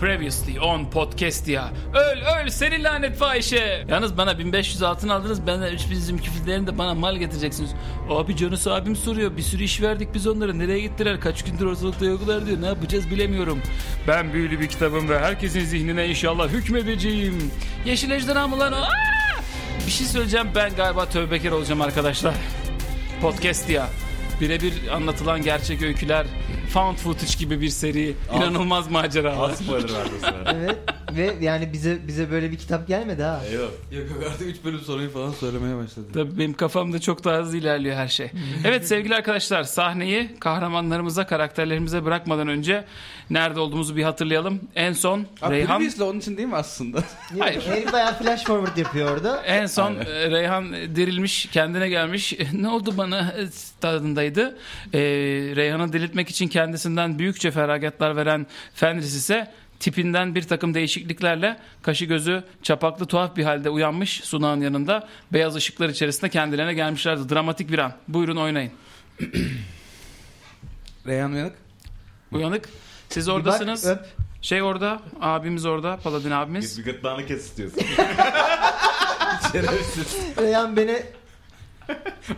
Previously on podcast ya. Öl öl seni lanet fahişe. Yalnız bana 1500 altın aldınız. Benden 3000 küfürlerini de bana mal getireceksiniz. Abi Canus abim soruyor. Bir sürü iş verdik biz onlara. Nereye gittiler? Kaç gündür ortalıkta yoklar diyor. Ne yapacağız bilemiyorum. Ben büyülü bir kitabım ve herkesin zihnine inşallah hükmedeceğim. Yeşil ejderha mı lan o? Aa! Bir şey söyleyeceğim. Ben galiba tövbekar olacağım arkadaşlar. Podcast ya. Birebir anlatılan gerçek öyküler. Found footage gibi bir seri. inanılmaz maceralar. Spoiler verdi bu sefer. Evet ve yani bize bize böyle bir kitap gelmedi ha. Yok. Yok yok artık 3 bölüm sonrayı falan söylemeye başladı. Tabii benim kafamda çok daha hızlı ilerliyor her şey. Evet sevgili arkadaşlar sahneyi kahramanlarımıza, karakterlerimize bırakmadan önce nerede olduğumuzu bir hatırlayalım. En son Abi Reyhan... Previously onun için değil mi aslında? Hayır. Herif bayağı flash forward yapıyor orada. En son e, Reyhan dirilmiş, kendine gelmiş. Ne oldu bana e, tadındaydı. E, Reyhan'ı diriltmek için kendisinden büyükçe feragatlar veren Fenris ise tipinden bir takım değişikliklerle kaşı gözü çapaklı tuhaf bir halde uyanmış sunağın yanında beyaz ışıklar içerisinde kendilerine gelmişlerdi. Dramatik bir an. Buyurun oynayın. Reyhan Uyanık. Uyanık. Siz Bir bak, oradasınız. öp. şey orada, abimiz orada, Paladin Bir, abimiz. bir gırtlağını kes istiyorsun. Reyhan beni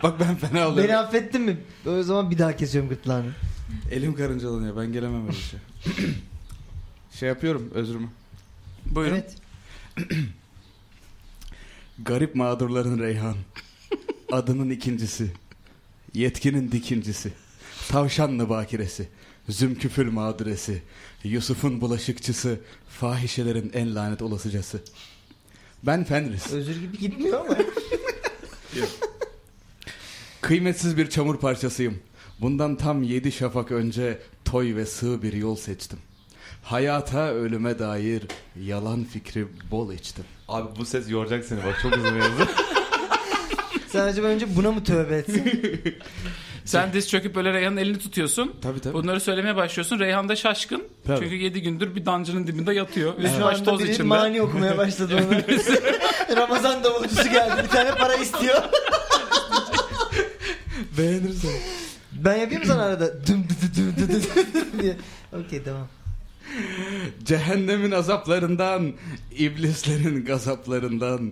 Bak ben fena oluyorum. beni affettin mi? O zaman bir daha kesiyorum gırtlağını. Elim karıncalanıyor ben gelemem öyle şey. şey yapıyorum özrümü. Buyurun. Evet. Garip mağdurların Reyhan. Adının ikincisi. Yetkinin dikincisi. Tavşanlı bakiresi. Zümküfül mağduresi. Yusuf'un bulaşıkçısı. Fahişelerin en lanet olasıcası. Ben Fenris. Özür gibi gitmiyor ama. Kıymetsiz bir çamur parçasıyım. Bundan tam yedi şafak önce toy ve sığ bir yol seçtim. Hayata ölüme dair yalan fikri bol içtim. Abi bu ses yoracak seni bak çok uzun yazı. Sen acaba önce buna mı tövbe etsin? Sen diz çöküp böyle Reyhan'ın elini tutuyorsun. Tabii tabii. Bunları söylemeye başlıyorsun. Reyhan da şaşkın. Tabii. Çünkü 7 gündür bir dancının dibinde yatıyor. Üst Şu baş anda toz biri içinde. mani okumaya başladı ona. Ramazan davulcusu geldi. Bir tane para istiyor. Beğenirsen. Ben yapayım mı sana arada. Dım dı dı dı dı dı dı diye. Okey tamam. Cehennemin azaplarından, iblislerin gazaplarından,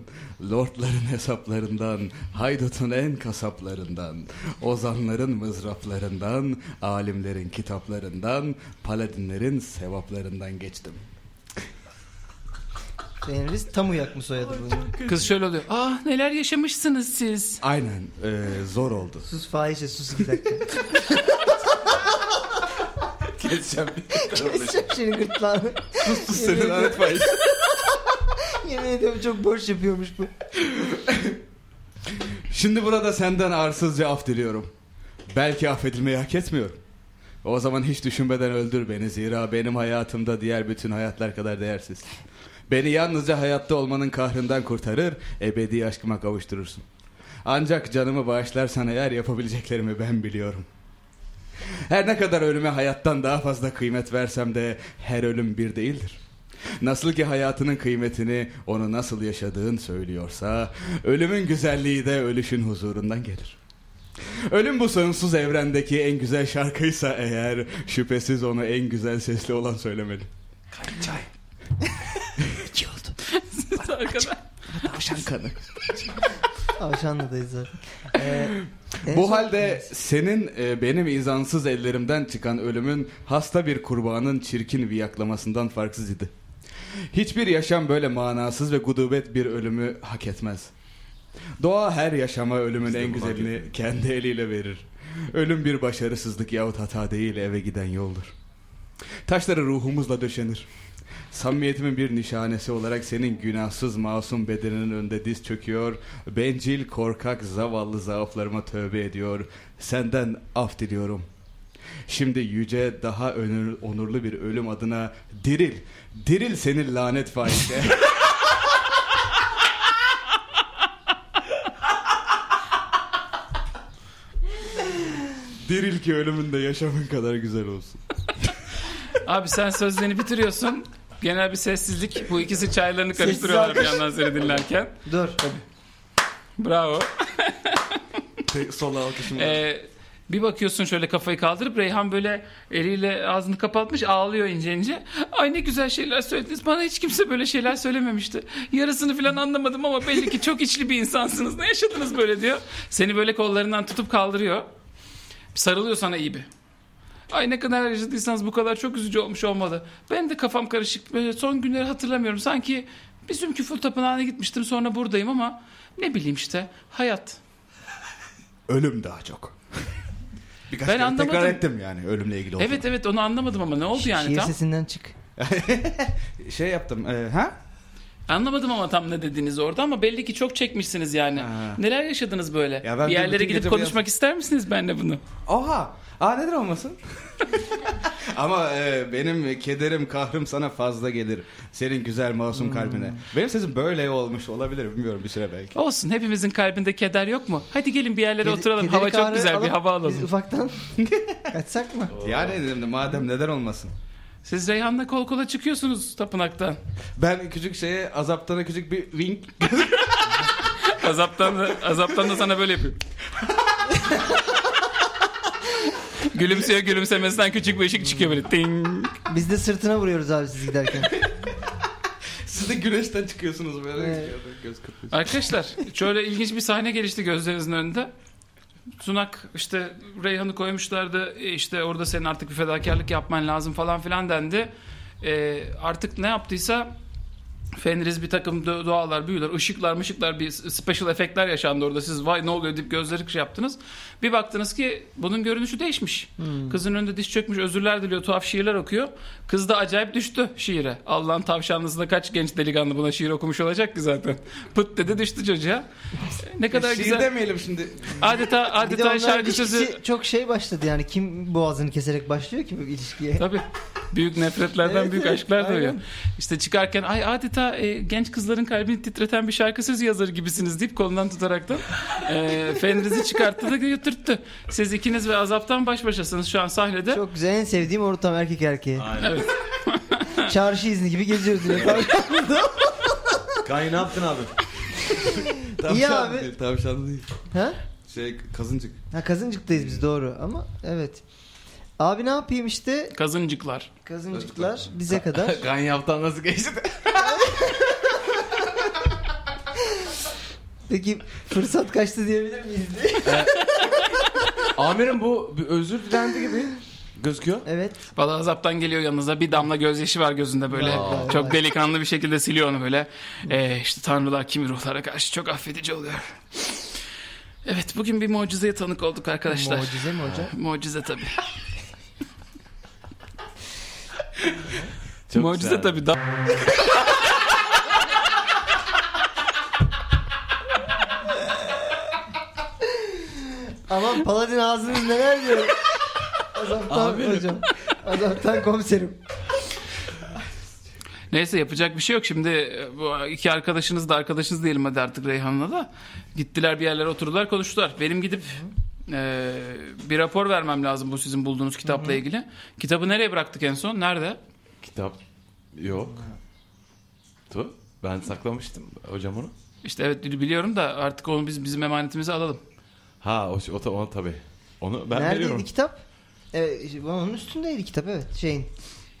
lordların hesaplarından, haydutun en kasaplarından, ozanların mızraplarından, alimlerin kitaplarından, paladinlerin sevaplarından geçtim. Fenris tam uyak mı soyadı bunu? Kız şöyle oluyor. Ah neler yaşamışsınız siz. Aynen eee, zor oldu. Sus fahişe sus iki dakika. Keseceğim. Keseceğim senin gırtlağını. Sus seni lanet faiz. Yemin ediyorum çok boş yapıyormuş bu. Şimdi burada senden arsızca af diliyorum. Belki affedilmeyi hak etmiyorum. O zaman hiç düşünmeden öldür beni zira benim hayatımda diğer bütün hayatlar kadar değersiz. Beni yalnızca hayatta olmanın kahrından kurtarır, ebedi aşkıma kavuşturursun. Ancak canımı bağışlarsan eğer yapabileceklerimi ben biliyorum. Her ne kadar ölüme hayattan daha fazla kıymet versem de her ölüm bir değildir. Nasıl ki hayatının kıymetini onu nasıl yaşadığın söylüyorsa ölümün güzelliği de ölüşün huzurundan gelir. Ölüm bu sonsuz evrendeki en güzel şarkıysa eğer şüphesiz onu en güzel sesli olan söylemeli. Arkadaş. Tavşan kanı. Avşanlı'dayız zaten. Ee, en Bu son- halde senin e, benim izansız ellerimden çıkan ölümün hasta bir kurbanın çirkin viyaklamasından farksız idi. Hiçbir yaşam böyle manasız ve gudubet bir ölümü hak etmez. Doğa her yaşama ölümün Biz de en bunu hak güzelini kendi eliyle verir. Ölüm bir başarısızlık yahut hata değil eve giden yoldur. Taşları ruhumuzla döşenir. Samimiyetimin bir nişanesi olarak senin günahsız masum bedeninin önünde diz çöküyor, bencil, korkak, zavallı zaaflarıma tövbe ediyor. Senden af diliyorum. Şimdi yüce, daha önür, onurlu bir ölüm adına diril, diril seni lanet faişe. diril ki ölümün de yaşamın kadar güzel olsun. Abi sen sözlerini bitiriyorsun. Genel bir sessizlik. Bu ikisi çaylarını Sessiz karıştırıyorlar bir alkış. yandan seni dinlerken. Dur. Bravo. Şey, Tek sol alkışım. Ee, Bir bakıyorsun şöyle kafayı kaldırıp Reyhan böyle eliyle ağzını kapatmış ağlıyor ince ince. Ay ne güzel şeyler söylediniz. Bana hiç kimse böyle şeyler söylememişti. Yarısını falan anlamadım ama belli ki çok içli bir insansınız. Ne yaşadınız böyle diyor. Seni böyle kollarından tutup kaldırıyor. Sarılıyor sana iyi bir. Ay ne kadar yaşadıysanız bu kadar çok üzücü olmuş olmalı. Ben de kafam karışık. Böyle son günleri hatırlamıyorum. Sanki bizim küfür tapınağına gitmiştim sonra buradayım ama ne bileyim işte hayat. Ölüm daha çok. Birkaç Ben kere anlamadım. tekrar ettim yani ölümle ilgili olduğunu. Evet evet onu anlamadım ama ne oldu yani Şiir tam? sesinden çık. Şey yaptım. e, ha? Anlamadım ama tam ne dediğiniz orada ama belli ki çok çekmişsiniz yani. Ha. Neler yaşadınız böyle? Ya ben bir de yerlere bütün gidip gece konuşmak ister misiniz benimle bunu? Oha. Aa neden olmasın? Ama e, benim kederim, kahrım sana fazla gelir. Senin güzel masum Hmm. kalbine. Benim sesim böyle olmuş olabilir bilmiyorum bir süre belki. Olsun hepimizin kalbinde keder yok mu? Hadi gelin bir yerlere Kedi- oturalım. kederi Hava çok kahve güzel bir alıp hava Biz alalım. ufaktan kaçsak mı? Yani dedim de madem neden olmasın. Siz Reyhan'la kol kola çıkıyorsunuz tapınaktan. Ben küçük şeye azaptana küçük bir wink. Azaptan da, azaptan da sana böyle yapıyor. Gülümsüyor gülümsemesinden küçük bir ışık çıkıyor böyle. Ting. Biz de sırtına vuruyoruz abi siz giderken. Siz de güneşten çıkıyorsunuz böyle. Evet. Göz kırpıyorsunuz. Arkadaşlar şöyle ilginç bir sahne gelişti gözlerinizin önünde. Sunak işte Reyhan'ı koymuşlardı E işte orada senin artık bir fedakarlık yapman lazım falan filan dendi. E, artık ne yaptıysa Fenriz bir takım do- doğalar, büyüler, ışıklar, mışıklar bir special efektler yaşandı orada. Siz vay ne oluyor deyip gözleri şey yaptınız. Bir baktınız ki bunun görünüşü değişmiş. Kızın önünde diş çökmüş, özürler diliyor, tuhaf şiirler okuyor. Kız da acayip düştü şiire. Allah'ın tavşanlısında kaç genç delikanlı buna şiir okumuş olacak ki zaten. Pıt dedi düştü çocuğa. Ne kadar Şiir güzel. demeyelim şimdi. Adeta Bir de adeta onların şarkı ilişkisi sözü. çok şey başladı yani kim boğazını keserek başlıyor ki bu ilişkiye? Tabii. Büyük nefretlerden Evet, büyük evet, aşklar aynen. doğuyor. İşte çıkarken ay adeta e, genç kızların kalbini titreten bir şarkı sözü yazarı gibisiniz deyip kolundan tutarak da e, fenrizi çıkarttı da götürttü. Siz ikiniz ve azaptan baş başasınız şu an sahnede. Çok güzel en sevdiğim ortam erkek erkeğe. Evet. Çarşı izni gibi geziyoruz yine. Kanye ne yaptın abi? İyi Tavşan abi. değil, Tavşan değil. ha? Şey kazıncık. ha kazıncıktayız biz doğru ama evet. Abi ne yapayım işte Kazıncıklar. kazıncıklar bize kadar. Kan yaptan nasıl geçti? Peki fırsat kaçtı diyebilir miyiz? Amirim bu bir özür dilendi gibi gözüküyor. Evet. Valla azaptan geliyor yanınıza bir damla gözyaşı var gözünde böyle. Vay. Çok delikanlı bir şekilde siliyor onu böyle. E, işte tanrılar kimi ruhlara karşı çok affedici oluyor. Evet bugün bir mucizeye tanık olduk arkadaşlar. Mucize mi hocam? Mucize tabii. Çok Mucize güzel. tabii. Da- Aman Paladin ağzınız neler diyor. Azaptan hocam. Azaptan komiserim. Neyse yapacak bir şey yok. Şimdi e, bu iki arkadaşınız da arkadaşınız diyelim hadi artık Reyhan'la da. Gittiler bir yerlere oturdular konuştular. Benim gidip e, bir rapor vermem lazım bu sizin bulduğunuz kitapla ilgili. Kitabı nereye bıraktık en son? Nerede? Kitap yok. Tu. Ben saklamıştım hocam onu. İşte evet biliyorum da artık onu biz bizim emanetimize alalım. Ha o, o, ta- o tabii. Onu ben Neredeydi veriyorum. kitap? Evet, onun üstündeydi kitap evet. Şeyin.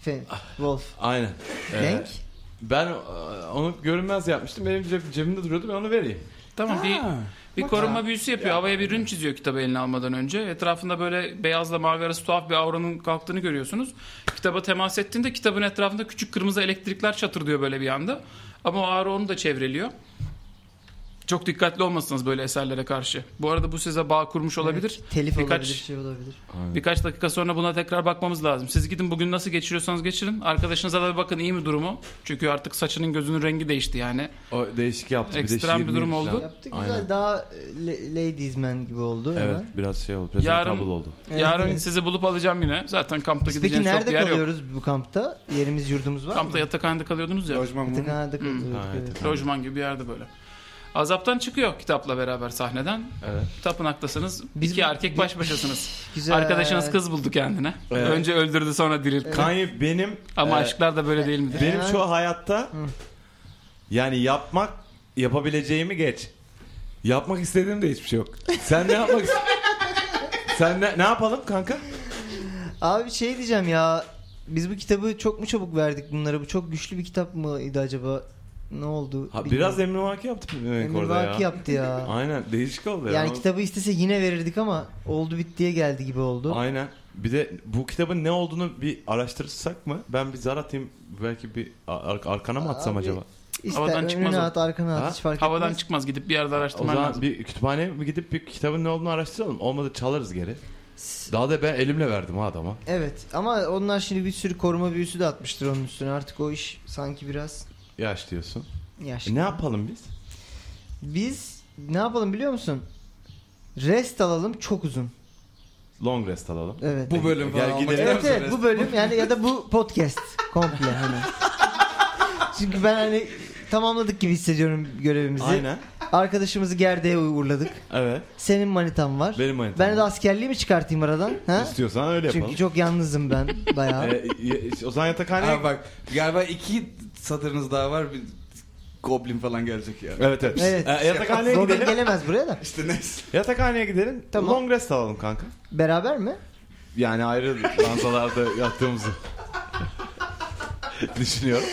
Fe- Wolf. Aynen. Ee, Renk. ben e, onu görünmez yapmıştım. Benim ceb- cebimde duruyordu ben onu vereyim. Tamam bir bir korunma büyüsü yapıyor. Havaya bir rün çiziyor kitabı eline almadan önce. Etrafında böyle beyazla mavi arası tuhaf bir auranın kalktığını görüyorsunuz. Kitaba temas ettiğinde kitabın etrafında küçük kırmızı elektrikler çatırdıyor böyle bir anda. Ama o aura onu da çevreliyor. Çok dikkatli olmasınız böyle eserlere karşı. Bu arada bu size bağ kurmuş olabilir. Evet, telif Birkaç- olabilir, şey olabilir. Birkaç dakika sonra buna tekrar bakmamız lazım. Siz gidin bugün nasıl geçiriyorsanız geçirin. Arkadaşınıza da bir bakın iyi mi durumu? Çünkü artık saçının gözünün rengi değişti yani. O değişik yaptı. de Ekstrem bir şiir durum miyim oldu. falan. Yaptı güzel Aynen. daha e, le- ladies man gibi oldu. Evet hemen. biraz şey oldu. Biraz Yarın- kabul oldu. Evet, Yarın evet. sizi bulup alacağım yine. Zaten kampta Biz gideceğiniz Peki çok bir nerede yer yok. kalıyoruz bu kampta? Yerimiz yurdumuz var Kampta mı? yatakhanede kalıyordunuz ya. Lojman mı? Yatakhanede kalıyoruz. Ha, evet. yatakhanede. Lojman gibi bir yerde böyle. Azaptan çıkıyor kitapla beraber sahneden. Evet. Tapınaktasınız. Biz- Ee, İki erkek baş başasınız. Güzel. Arkadaşınız kız buldu kendine. Evet. Önce öldürdü sonra diriltti. Kanye benim Ama e, aşklar da böyle değil midir? Benim şu hayatta yani yapmak yapabileceğimi geç. Yapmak istediğim de hiçbir şey yok. Sen ne yapmak ist- Sen ne, ne yapalım kanka? Abi şey diyeceğim ya. Biz bu kitabı çok mu çabuk verdik bunlara? Bu çok güçlü bir kitap mıydı acaba? Ne oldu? Ha, Bilmiyorum. biraz Emre Vaki yaptı demek orada ya. Emrivaki yaptı ya. Aynen değişik oldu ya. yani kitabı istese yine verirdik ama oldu bittiye geldi gibi oldu. Aynen. Bir de bu kitabın ne olduğunu bir araştırsak mı? Ben bir zar atayım. Belki bir ar- arkana mı atsam Abi, acaba? İster Havadan önüne çıkmaz o. at arkana at Ha? hiç fark Havadan etmez. çıkmaz gidip bir yerde O araştırman zaman lazım. bir kütüphaneye mi gidip bir kitabın ne olduğunu araştıralım. Olmadı çalarız geri. Daha da ben elimle verdim ha adama. Evet ama onlar şimdi bir sürü koruma büyüsü de atmıştır onun üstüne. Artık o iş sanki biraz Yaş diyorsun. yaşlı. E, ne yapalım biz? Biz ne yapalım biliyor musun? Rest alalım çok uzun. Long rest alalım. Evet. Bu bölüm Gel falan olmak gidelim. ister Evet misin evet Rest? bu bölüm yani ya da bu podcast komple hani. Çünkü ben hani tamamladık gibi hissediyorum görevimizi. Aynen. Arkadaşımızı gerdeğe uğurladık. Evet. Senin manitan var. Benim manitam Ben de var. askerliği mi çıkartayım aradan? Ha? İstiyorsan öyle yapalım. Çünkü çok yalnızım ben bayağı. E, y- o zaman yatakhaneye... Abi bak galiba iki satırınız daha var. Bir goblin falan gelecek ya. Evet evet. Evet. E, yatakhaneye Goblin gidelim. gelemez buraya da. İşte neyse. Yatakhaneye gidelim. Tamam. Long rest alalım kanka. Beraber mi? Yani ayrı lanzalarda yattığımızı düşünüyorum.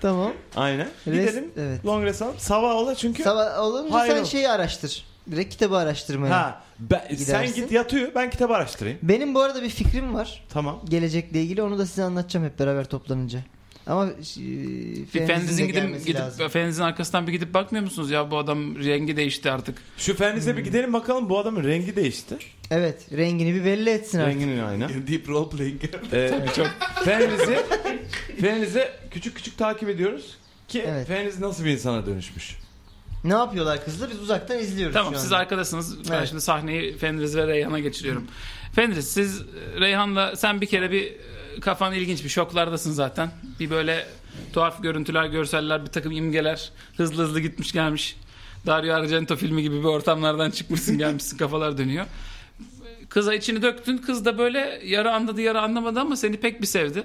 Tamam. Aynen. Rest- Gidelim. evet. Long rest alalım. Sabah ola çünkü. Sabah olunca Hayır sen o. şeyi araştır. Direkt kitabı araştırmaya. Ha, ben, sen Gidersin. git yat uyu. Ben kitabı araştırayım. Benim bu arada bir fikrim var. Tamam. Gelecekle ilgili onu da size anlatacağım hep beraber toplanınca. Ama e, Bir Fendiz'in de Fendiz'in gidip, gelmesi lazım. gidip Fendiz'in arkasından bir gidip bakmıyor musunuz? Ya bu adam rengi değişti artık. Şu fenizle Hmm. bir gidelim bakalım bu adamın rengi değişti. Evet rengini bir belli etsin artık. Renginin aynı. Deep role playing. Ee, Çok. Fenriz'i, Fenriz'i küçük küçük takip ediyoruz. Ki Evet. Feniz nasıl bir insana dönüşmüş? Ne yapıyorlar kızlar biz uzaktan izliyoruz Tamam şu siz anda. arkadasınız. Ben Evet. şimdi sahneyi Fenriz ve Reyhan'a geçiriyorum. Fenriz siz Reyhan'la sen bir kere bir e, kafan ilginç bir şoklardasın zaten. Bir böyle tuhaf görüntüler, görseller, bir takım imgeler. Hızlı hızlı gitmiş gelmiş. Dario Argento filmi gibi bir ortamlardan çıkmışsın gelmişsin kafalar dönüyor. Kıza içini döktün. Kız da böyle yarı anladı yarı anlamadı ama seni pek bir sevdi.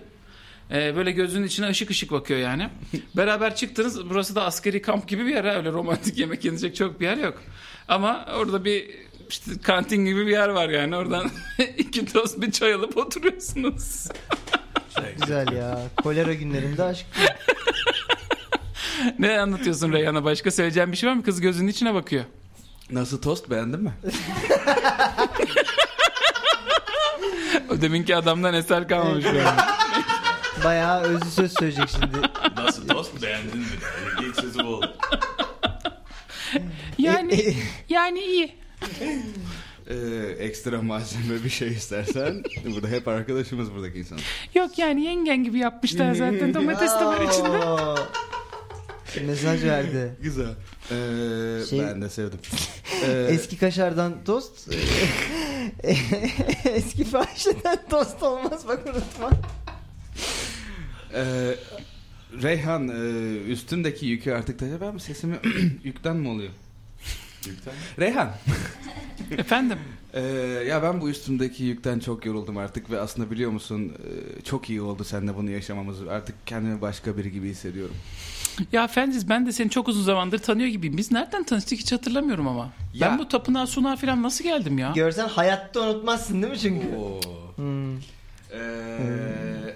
Ee, böyle gözünün içine ışık ışık bakıyor yani. Beraber çıktınız. Burası da askeri kamp gibi bir yer. ha. Öyle romantik yemek yenecek çok bir yer yok. Ama orada bir işte kantin gibi bir yer var yani. Oradan iki dost bir çay alıp oturuyorsunuz. Güzel ya. Kolera günlerinde aşk. ne anlatıyorsun Reyhan'a başka? Söyleyeceğin bir şey var mı? Kız gözünün içine bakıyor. Nasıl tost beğendin mi? O deminki adamdan eser kalmamış. yani. Bayağı özlü söz söyleyecek şimdi. Nasıl dost beğendin mi? İlk sözü bu oldu. yani, yani iyi. Ee, ekstra malzeme bir şey istersen. burada hep arkadaşımız buradaki insan. Yok yani yengen gibi yapmışlar zaten. Domates de var içinde. Aa! Mesaj verdi. Güzel. Ee, Şey- Ben de sevdim. Ee, Eski kaşardan tost. e, Eski fahişeden tost olmaz bak unutma. Ee, Reyhan e, üstündeki yükü artık da ben sesimi yükten mi oluyor? Reyhan Efendim? e, ya ben bu üstümdeki yükten çok yoruldum artık ve aslında biliyor musun e, çok iyi oldu seninle bunu yaşamamız. Artık kendimi başka biri gibi hissediyorum. Ya Fendiz ben de seni çok uzun zamandır tanıyor gibiyim. Biz nereden tanıştık hiç hatırlamıyorum ama. Ya- Ben bu tapınağa sunağa falan nasıl geldim ya? Görsen hayatta unutmazsın değil mi çünkü? Hmm. Ee, Hmm.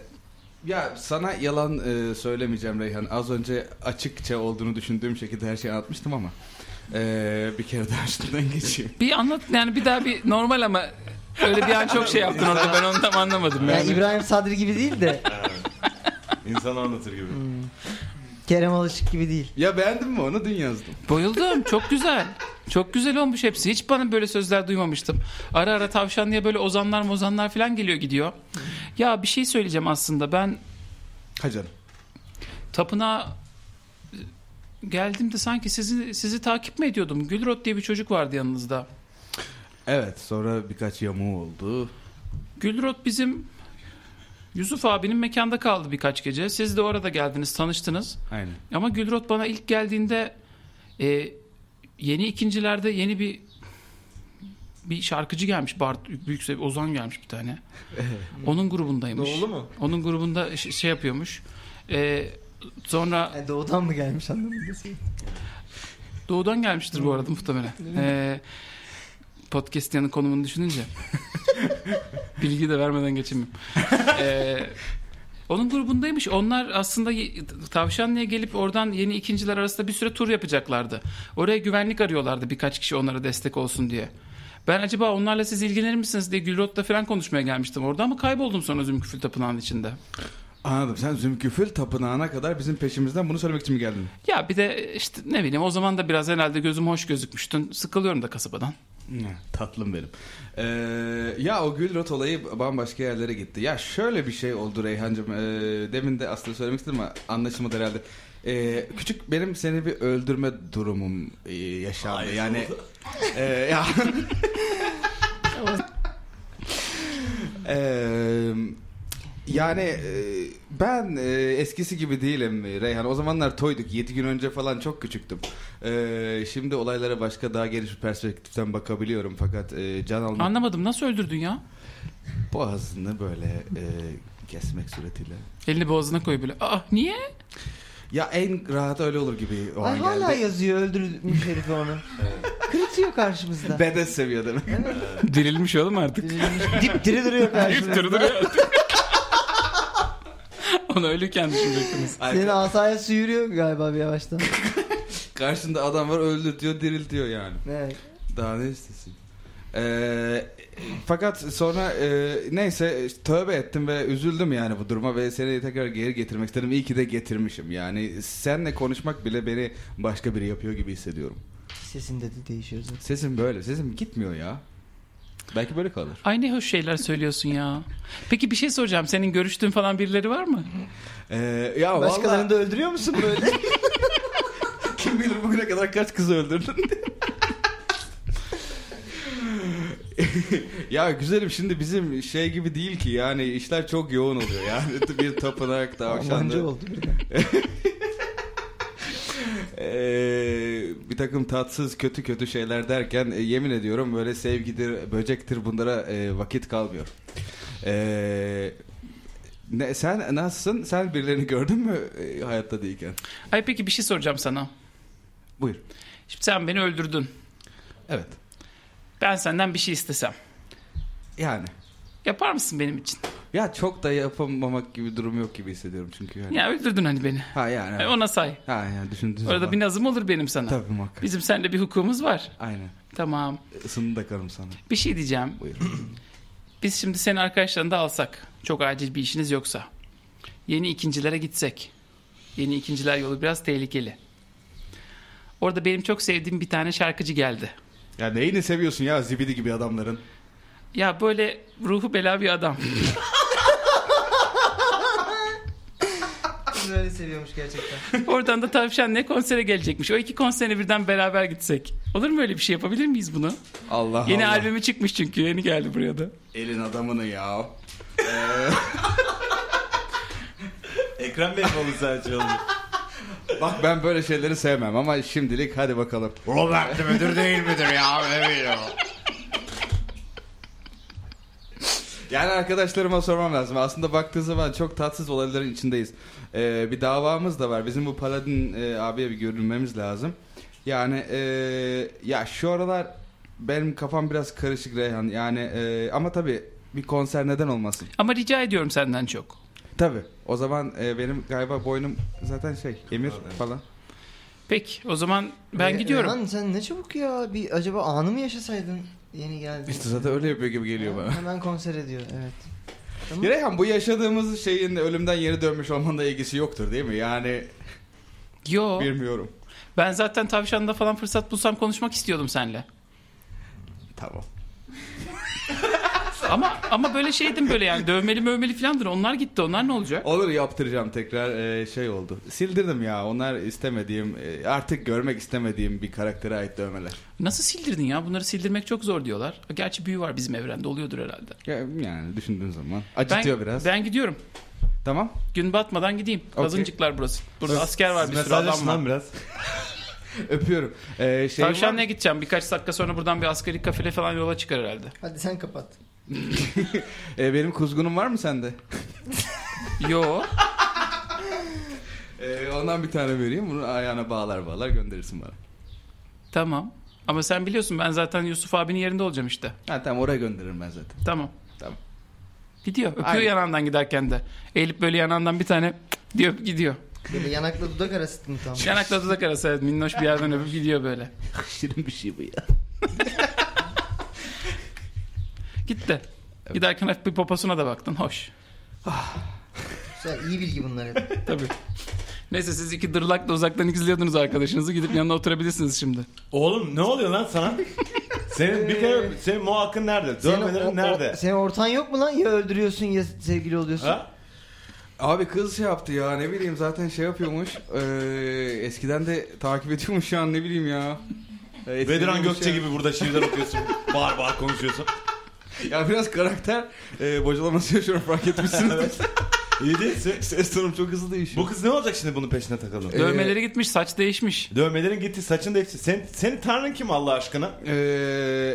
ya sana yalan e, söylemeyeceğim Reyhan. Az önce açıkça olduğunu düşündüğüm şekilde her şeyi anlatmıştım ama e, bir kere daha üstünden geçeyim. bir anlat yani bir daha bir normal ama öyle bir an çok şey yaptın orada ben onu tam anlamadım. Yani Yani. İbrahim Sadri gibi değil de İnsanı anlatır gibi. Hmm. Kerem Alışık gibi değil. Ya beğendin mi onu? Dün yazdım. Bayıldım çok güzel. Çok güzel olmuş hepsi. Hiç bana böyle sözler duymamıştım. Ara ara tavşan diye böyle ozanlar mozanlar falan geliyor gidiyor. Ya bir şey söyleyeceğim aslında. Ben Ha canım. tapınağa geldiğimde sanki sizi sizi takip mi ediyordum? Gülrot diye bir çocuk vardı yanınızda. Evet sonra birkaç yamuğu oldu. Gülrot bizim Yusuf abinin mekanda kaldı birkaç gece. Siz de orada geldiniz, tanıştınız. Aynen. Ama Gülrot bana ilk geldiğinde e, yeni ikincilerde yeni bir bir şarkıcı gelmiş. Bart Büyükse Ozan gelmiş bir tane. Onun grubundaymış. Doğulu mu? Onun grubunda ş- şey yapıyormuş. E, sonra Yani E, doğudan mı gelmiş anladın mı? Doğudan gelmiştir bu arada muhtemelen. Ee, Podcastia'nın konumunu düşününce. Bilgi de vermeden geçemem. Ee, onun grubundaymış. Onlar aslında ye- Tavşanlı'ya gelip oradan yeni ikinciler arasında bir süre tur yapacaklardı. Oraya güvenlik arıyorlardı birkaç kişi onlara destek olsun diye. Ben acaba onlarla siz ilgilenir misiniz diye Gülrot'la falan konuşmaya gelmiştim orada ama kayboldum sonra Zümküfül Tapınağı'nın içinde. Anladım. Sen Zümküfül tapınağına kadar bizim peşimizden bunu söylemek için mi geldin? Ya bir de işte ne bileyim o zaman da biraz herhalde gözüm hoş gözükmüştün. Sıkılıyorum da kasabadan. Tatlım benim. Ee, ya o Gülrot olayı bambaşka yerlere gitti. Ya şöyle bir şey oldu Reyhancığım. Ee, demin de aslında söylemek istedim ama anlaşılmadı herhalde. Ee, küçük benim seni bir öldürme durumum e, yaşandı. Yani Ee, ya Ee, yani e, ben e, eskisi gibi değilim Reyhan. O zamanlar toyduk. 7 gün önce falan çok küçüktüm. Ee, şimdi olaylara başka daha geniş bir perspektiften bakabiliyorum. Fakat e, can almak Anlamadım nasıl öldürdün ya? boğazını böyle e, kesmek suretiyle. Elini boğazına koy böyle. Aa niye? Ya en rahat öyle olur gibi o Ay an hala geldi. yazıyor öldürmüş herifi onu. Kırıtıyor karşımızda. Bedes seviyor demek. Dirilmiş oğlum artık. Dirilmiş- Dipdiri duruyor karşımızda. İftiri duruyor artık. Onu ölürken düşünecektiniz. Senin asaya su yürüyor galiba bir yavaştan. Karşında adam var öldü diyor diriltiyor yani. Evet. Daha ne istesin? Ee, fakat sonra e, neyse tövbe ettim ve üzüldüm yani bu duruma ve seni tekrar geri getirmek istedim. İyi ki de getirmişim. Yani senle konuşmak bile beni başka biri yapıyor gibi hissediyorum. Sesinde de değişiyor zaten. Sesim böyle. Sesim gitmiyor ya. Belki böyle kalır. Ay ne hoş şeyler söylüyorsun ya. Peki bir şey soracağım. Senin görüştüğün falan birileri var mı? Ee, ya Başkalarını vallahi da öldürüyor musun böyle? kim bilir bugüne kadar kaç kızı öldürdün. ya güzelim şimdi bizim şey gibi değil ki yani işler çok yoğun oluyor yani bir tapınak Almanca tavşanlı oldu birden. Ee, bir takım tatsız kötü kötü şeyler derken e, yemin ediyorum böyle sevgidir böcektir bunlara e, vakit kalmıyor. Ee, ne, sen nasılsın? Sen birilerini gördün mü e, hayatta değilken? Ay peki bir şey soracağım sana. Buyur. Şimdi sen beni öldürdün. Evet. Ben senden bir şey istesem. Yani. Yapar mısın benim için? Ya çok da yapamamak gibi durum yok gibi hissediyorum çünkü yani. Ya öldürdün hani beni. Ha yani. Ay, Ona say. Ha yani düşündüğün Orada zaman. bir nazım olur benim sana. Tabii muhakkak. Bizim seninle bir hukukumuz var. Aynen. Tamam. Isını da karım sana. Bir şey diyeceğim. Buyur. Biz şimdi senin arkadaşlarını da alsak. Çok acil bir işiniz yoksa. Yeni ikincilere gitsek. Yeni ikinciler yolu biraz tehlikeli. Orada benim çok sevdiğim bir tane şarkıcı geldi. Ya neyini seviyorsun ya zibidi gibi adamların? Ya böyle ruhu bela bir adam. Kız öyle seviyormuş gerçekten. Oradan da tavşan ne konsere gelecekmiş. O iki konsere birden beraber gitsek. Olur mu öyle bir şey yapabilir miyiz bunu? Allah Yeni Allah. albümü çıkmış çünkü. Yeni geldi buraya da. Elin adamını ya. Ee, Ekrem Bey mi olur sadece olur? Bak ben böyle şeyleri sevmem ama şimdilik hadi bakalım. Robert müdür değil midir ya? Ne bileyim. Yani arkadaşlarıma sormam lazım. Aslında baktığı zaman çok tatsız olayların içindeyiz. Ee, bir davamız da var. Bizim bu Paladin e, abiye bir görünmemiz lazım. Yani e, ya şu aralar benim kafam biraz karışık Reyhan. Yani e, ama tabii bir konser neden olmasın? Ama rica ediyorum senden çok. Tabii. O zaman e, benim galiba boynum zaten şey emir falan. Peki o zaman ben Ee, gidiyorum. Erhan sen ne çabuk ya. Bir acaba anı mı yaşasaydın yeni geldin? İşte zaten öyle yapıyor gibi geliyor bana. Hemen konser ediyor evet. Tamam. Ya Reyhan bu yaşadığımız şeyin ölümden yeni dönmüş olmanla ilgisi yoktur değil mi? Yani Yo. bilmiyorum. Ben zaten tavşanda falan fırsat bulsam konuşmak istiyordum seninle. Tamam. Ama ama böyle şeydim böyle yani dövmeli mövmeli filandır. Onlar gitti. Onlar ne olacak? Olur yaptıracağım tekrar Ee, şey oldu. Sildirdim ya onlar istemediğim e, artık görmek istemediğim bir karaktere ait dövmeler. Nasıl sildirdin ya? Bunları sildirmek çok zor diyorlar. Gerçi büyü var bizim evrende. Oluyordur herhalde. Ya, Yani düşündüğün zaman Ben, acıtıyor biraz. ben gidiyorum. Tamam. Gün batmadan gideyim. Okey. Kazıncıklar burası. Burada asker var bir sürü adam Mesajlaşın var. lan biraz. Öpüyorum. Ee, şey Tavşanlı'ya gideceğim. Birkaç dakika sonra buradan bir askeri kafile falan yola çıkar herhalde. Hadi sen kapat. Ee, benim kuzgunum var mı sende? Yo. Ee, ondan bir tane vereyim. Bunu ayağına bağlar bağlar gönderirsin bana. tamam. Ama sen biliyorsun ben zaten Yusuf abinin yerinde olacağım işte. Ha tamam oraya gönderirim ben zaten. Tamam. Tamam. Gidiyor. Öpüyor Aynen. yanağından giderken de. Eğilip böyle yanağından bir tane diyor gidiyor. Böyle yanakla dudak arası mı tam? Yanakla dudak arası evet, minnoş bir yerden öpüp gidiyor böyle. Şirin bir şey bu ya. Gitti. Giderken hafif bir poposuna da baktın. Hoş. Güzel, iyi bilgi bunlar. hep. Tabii. Neyse siz iki dırlakla uzaktan izliyordunuz arkadaşınızı. Gidip yanına oturabilirsiniz şimdi. Oğlum ne oluyor lan sana? senin bir kere senin muhakkın nerede? o- o- Dövmelerin nerede? Ee, Senin ortan yok mu lan? Ya öldürüyorsun ya sevgili oluyorsun. Ha? Abi kız şey yaptı ya ne bileyim zaten şey yapıyormuş. Eee eskiden de takip ediyormuş şu an ne bileyim ya. Ee, Eee, Bedirhan etkileniyormuş şey- Gökçe ya. gibi burada şiirler okuyorsun. bağır bağır konuşuyorsun. Ya biraz karakter eee bocalaması yaşıyorum fark etmişsiniz. İyi değilsin. Ses tonum çok hızlı değişiyor. Bu kız ne olacak şimdi bunun peşine takıldın? Ee, Dövmeleri gitmiş, saç E- değişmiş. Dövmelerin gitti, saçın da hepsi. Sen, senin tanrın kim Allah aşkına? Ee,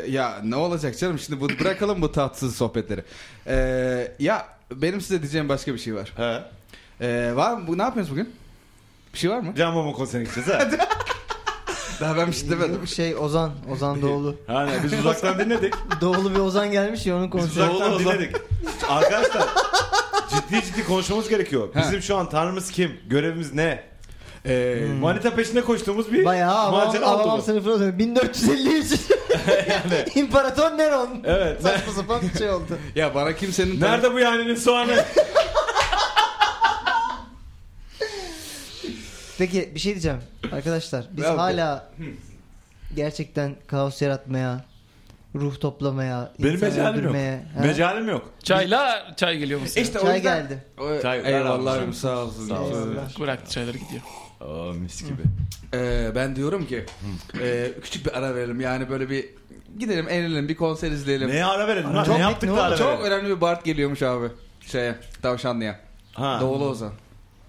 ya ne olacak canım şimdi bu bırakalım bu tatsız sohbetleri. Ee, ya benim size diyeceğim başka bir şey var. He. Ee, var mı? Bu, ne yapıyoruz bugün? Bir şey var mı? Can Mama konserine gideceğiz ha. Daha ben bir şey demedim. Yok şey Ozan, Ozan Doğulu. Hani biz uzaktan dinledik. Doğulu bir Ozan gelmiş ya onun Biz konseri. uzaktan dinledik. Arkadaşlar ciddi ciddi konuşmamız gerekiyor. Ha. Bizim şu an tanrımız kim? Görevimiz ne? Ee, Manita peşinde koştuğumuz bir Bayağı avam, macera oldu avam bu. sınıfına dönüyor. 1453. İmparator Neron. Evet. ne- Saçma sapan bir şey oldu. ya bana kimsenin... Nerede bu yahninin soğanı? Peki bir şey diyeceğim. Arkadaşlar biz Ya, hala gerçekten kaos yaratmaya, ruh toplamaya, Benim insan mecalim yok. öldürmeye. ha? Mecalim yok. Çayla çay geliyor musun? İşte o Çay yüzden... geldi. Çay- Eyvallah abim, sağ olsun. Sağ olsun. Eyvallah. Bıraktı çayları gidiyor. Aa mis gibi. Ee, ben diyorum ki ee, küçük bir ara verelim yani böyle bir gidelim eğlenelim bir konser izleyelim. Neye ara verelim? lan? Çok- ne yaptık ne da oldu? ara Çok verelim? önemli bir Bart geliyormuş abi. Şeye Tavşanlı'ya. Ha, Doğulu Ozan.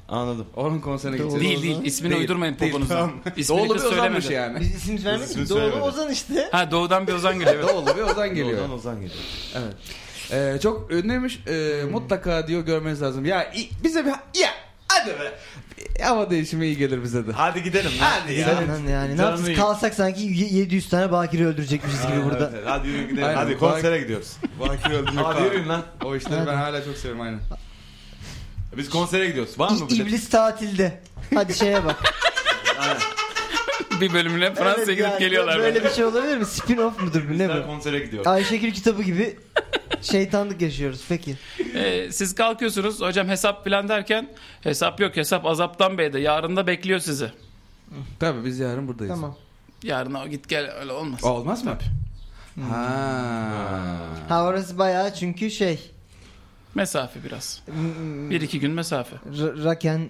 Anladım. Onun konserine Doğulu gideceğiz. Değil değil ismini Değil, uydurmayın değil, poponuza. tamam. İsmini Doğulu bir kız Ozan'mış söylemedi. yani. Biz isim vermedik ismini ki. Doğulu söylemedik. Ozan işte. Ha doğudan bir Ozan geliyor. evet. Doğulu bir Ozan geliyor. Doğudan Ozan geliyor. Evet. Ee, çok ünlüymüş. Ee, Mutlaka diyor görmeniz lazım. Ya i- bize bir ya hadi be. Bir Hava değişimi iyi gelir bize de. Hadi gidelim. lan. Hadi ya. Lan yani ne Canım yapacağız iyi. kalsak sanki y- 700 tane bakiri öldürecekmişiz gibi Aynen, burada. evet, evet. Hadi yürü gidelim. Aynen, Hadi bak- konsere gidiyoruz. Bakir öldürmek Hadi yürüyün lan. O işleri ben hala çok seviyorum aynen. Biz konsere gidiyoruz. Var mı İ- bilet? İblis tatilde. Hadi şeye bak. bir bölümüne Fransa'ya Evet gidip yani, geliyorlar. Böyle böyle. bir şey olabilir mi? Spin off mudur bu ne Bizler bu? konsere gidiyoruz. Ayşegül kitabı gibi şeytanlık yaşıyoruz peki. Ee, siz kalkıyorsunuz hocam hesap plan derken hesap yok hesap azaptan beyde yarın da bekliyor sizi. Tabii biz yarın buradayız. Tamam. Yarın o git gel öyle olmaz. Olmaz mı? Ha. Ha orası bayağı çünkü şey Mesafe biraz. m- Bir iki gün mesafe. r- rock and e,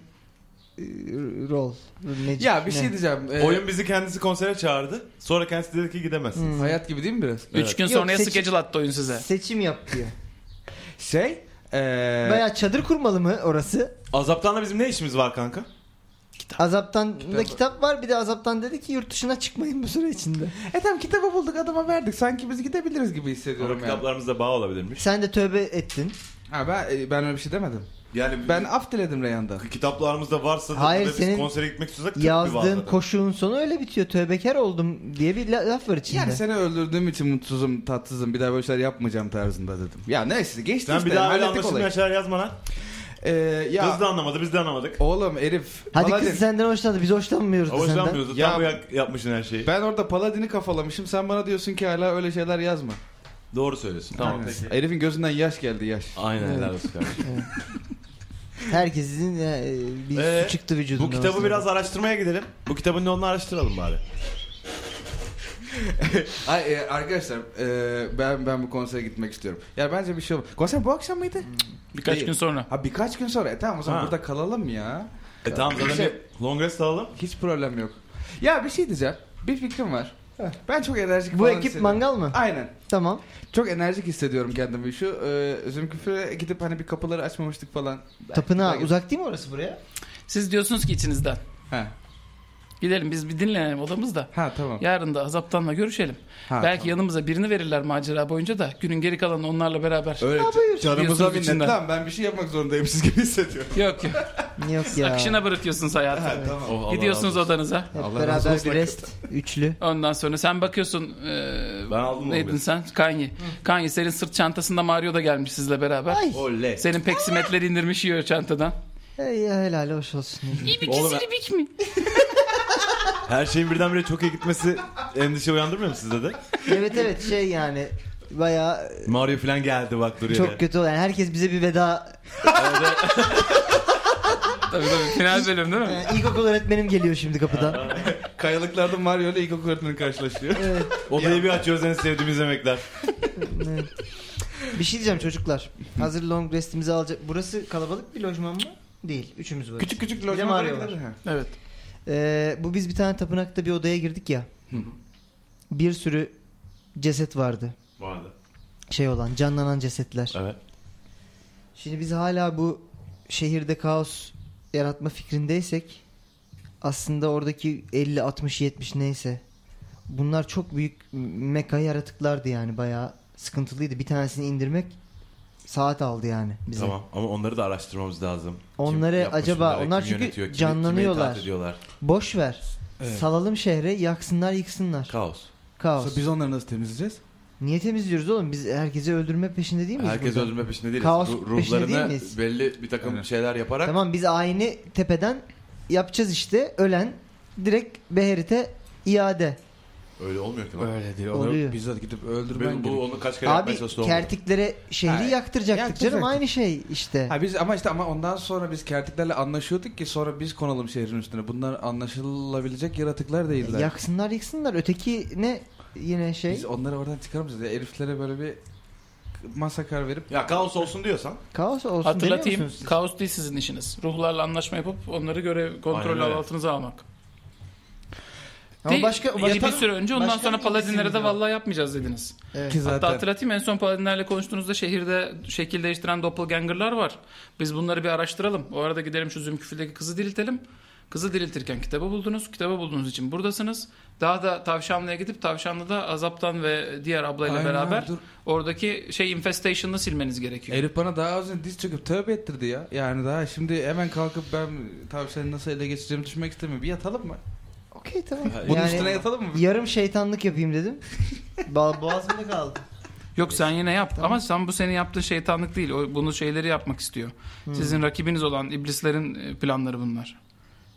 roll. Ne- Ya bir ne? şey diyeceğim. Ee, Oyun bizi kendisi konsere çağırdı. Sonra kendisi dedi ki gidemezsin. Hmm. hayat gibi değil mi biraz? Üç gün Yok, sonraya seçim- schedule attı oyun size. Seçim yap diyor. Şey, ee, Bayağı çadır kurmalı mı orası? Azaptan'la bizim ne işimiz var kanka? Azaptan da Kitap- kitap var bir de azaptan dedi ki yurt dışına çıkmayın bu süre içinde. e tamam kitabı bulduk adama verdik. Sanki biz gidebiliriz gibi Ama hissediyorum yani. kitaplarımızda bağ olabilirmiş. Sen de tövbe ettin. Ha ben e, ben öyle bir şey demedim. Yani Ben ben af diledim Reyhan'dan. kitaplarımızda varsa da Hayır, ve biz senin konsere gitmek istiyorsak tıp bir Yazdığın bağladı. koşuğun sonu öyle bitiyor. Tövbekar oldum diye bir la- laf var içinde. Yani seni öldürdüğüm için mutsuzum, tatsızım. Bir daha böyle şeyler yapmayacağım tarzında dedim. Ya neyse geçti Sen işte. bir daha öyle hallettik olayı. anlaşılmayan şeyler yazma lan. Ee, ya Kız da anlamadı biz de anlamadık. oğlum Elif. Hadi Paladin. kız senden hoşlandı. Biz hoşlanmıyoruz da senden. Hoşlanmıyoruz. Ya- Tam bu yak- yapmışsın her şeyi. Ben orada Paladin'i kafalamışım. Sen bana diyorsun ki hala öyle şeyler yazma. Doğru söylüyorsun. Tamam Aynen. peki. Elif'in gözünden yaş geldi yaş. Aynen helal olsun kardeşim. Herkesin e, bir Ee, su çıktı vücudundan. Bu kitabı aslında. biraz araştırmaya gidelim. Bu kitabın ne olduğunu araştıralım bari. Ay, e, arkadaşlar e, ben ben bu konsere gitmek istiyorum. Ya bence bir şey olur. Konser bu akşam mıydı? Birkaç Değil. gün sonra. Ha birkaç gün sonra. E tamam o zaman Ha. burada kalalım ya. E tamam zaten Şey- bir long rest alalım. Hiç problem yok. Ya bir şey diyeceğim. Bir fikrim var. Ben çok enerjik Bu falan ekip hissediyorum. mangal mı? Aynen. Tamam. Çok enerjik hissediyorum kendimi. Şu e, Zümküf'e gidip hani bir kapıları açmamıştık falan. Tapınağa Belki- uzak değil mi orası buraya? Siz diyorsunuz ki içinizden. Ha. Gidelim biz bir dinlenelim odamızda. Ha tamam. Yarın da azaptanla görüşelim. Ha, Belki yanımıza birini verirler macera boyunca da günün geri kalanı onlarla beraber. Öyle buyur. canımıza Diyorsunuz minnet. içinden. Lan ben bir şey yapmak zorundayım siz gibi hissediyorum. Yok yok. Yok ya. Akışına bırakıyorsunuz hayatı. Oh, Allah Gidiyorsunuz razı olsun. odanıza. Hep Allah razı beraber olsun bir hakikaten. rest. Üçlü. Ondan sonra sen bakıyorsun. e, eee, Ben aldım onu Neydin bile. sen? Kanye. Kanye senin sırt çantasında Mario da gelmiş sizle beraber. Ay. Oley. Senin peksimetleri indirmiş yiyor çantadan. Hey, ya helal hoş olsun. Oğlum, Her şeyin birdenbire çok iyi gitmesi endişe uyandırmıyor mu sizde de? evet evet şey yani bayağı Mario falan geldi bak duruyor. çok kötü olan. Herkes bize bir veda. Tabii tabii final bölüm değil mi? Yani E, ilkokul öğretmenim geliyor şimdi kapıdan. Kayalıklarda Mario ile ilkokul öğretmeni karşılaşıyor. Evet, Odayı bir açıyoruz en sevdiğimiz yemekler. evet. Bir şey diyeceğim çocuklar. Hazır long restimizi alacak. Burası kalabalık bir lojman mı? Değil. Üçümüz var. küçük küçük de lojmanlara Mario var. gidelim. Evet. Ee, bu biz bir tane tapınakta bir odaya girdik ya. Bir sürü ceset vardı. Bu arada. Şey olan canlanan cesetler. Evet. Şimdi biz hala bu şehirde kaos yaratma fikrindeysek aslında oradaki 50 60 70 neyse bunlar çok büyük meka yaratıklardı yani bayağı sıkıntılıydı. Bir tanesini indirmek saat aldı yani bize. Tamam ama onları da araştırmamız lazım. Kim Onları yapmış acaba- bunları, onlar kim çünkü yönetiyor, kimi- canlanıyorlar. kime itaat ediyorlar. Boş ver. Salalım şehre yaksınlar yıksınlar. Kaos. kaos. Biz onları nasıl temizleyeceğiz? Niye temizliyoruz oğlum? Biz herkesi öldürme peşinde değil miyiz? Herkes burada? öldürme peşinde değiliz. Kaos Ru- peşinde ruhlarını değil miyiz? belli bir takım Aynen. şeyler yaparak Tamam biz aynı tepeden yapacağız işte. Ölen direkt Beherit'e iade. öyle olmuyor ki. lan. Öyle değil. Onları Oluyor. bizzat gidip Ben bu öldürmen gerekiyor. onu kaç kere Abi yapmaya çalıştı olmadı. kertiklere şehri Ha, yaktıracaktık canım yaktıracaktık. aynı şey işte. Ha biz ama işte ama ondan sonra biz kertiklerle anlaşıyorduk ki sonra biz konalım şehrin üstüne. Bunlar anlaşılabilecek yaratıklar değiller. Yaksınlar yıksınlar öteki ne yine şey Biz onları oradan çıkaramayacağız. Ya, heriflere böyle bir masakar verip Ya kaos olsun diyorsan. kaos olsun demiyor Hatırlatayım. musunuz siz? Kaos değil sizin işiniz. Ruhlarla anlaşma yapıp onları göre kontrol Aynen öyle. altınıza almak. Ama Değil, başka, bir- başka bir süre önce ondan başka sonra bir Paladinlere isim de yok. vallahi yapmayacağız dediniz. Evet. ki Hatta zaten hatırlatayım en son Paladinlerle konuştuğunuzda şehirde şekil değiştiren doppelgangerlar var. Biz bunları bir araştıralım. O arada gidelim şu Zümküfil'deki kızı diriltelim. Kızı diriltirken kitabı buldunuz. Kitabı bulduğunuz için buradasınız. Daha da Tavşanlı'ya gidip Tavşanlı'da Azap'tan ve diğer ablayla Aynen, beraber dur. oradaki şey infestation'ını silmeniz E, gerekiyor. Herif bana daha az önce diz çöküp tövbe ettirdi ya. Yani daha şimdi hemen kalkıp ben tavşanı nasıl ele geçireceğimi düşünmek istemiyorum. Bir yatalım mı? Okey tamam. Bunun Yani üstüne yatalım mı? yarım şeytanlık yapayım dedim. Ba- Boğazımda kaldı. Yok sen yine yap ama sen bu senin yaptığın şeytanlık değil. O bunu şeyleri yapmak istiyor. Hmm. Sizin rakibiniz olan iblislerin e, planları bunlar.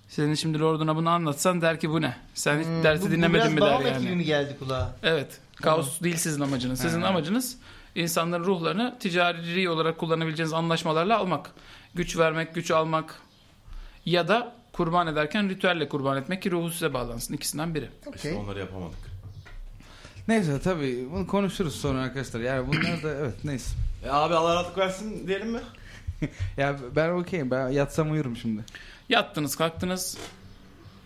Senin şimdi Lord'una bunu anlatsan der ki bu ne? Sen hiç dersi Hmm. Bu- bu dinlemedin mi biraz der Baumet yani. gibi mi geldi kulağa? Evet. Kaos değil sizin amacınız. Sizin amacınız insanların ruhlarını ticari olarak kullanabileceğiniz anlaşmalarla almak. Güç vermek, güç almak ya da kurban ederken ritüelle kurban etmek ki ruhu size bağlansın. İkisinden biri. İşte Okey. onları yapamadık. Neyse tabii bunu konuşuruz sonra arkadaşlar. Yani bunlar da evet neyse. E abi Allah rahatlık versin diyelim mi? Ya ben okeyim. Ben yatsam uyurum şimdi. Yattınız kalktınız.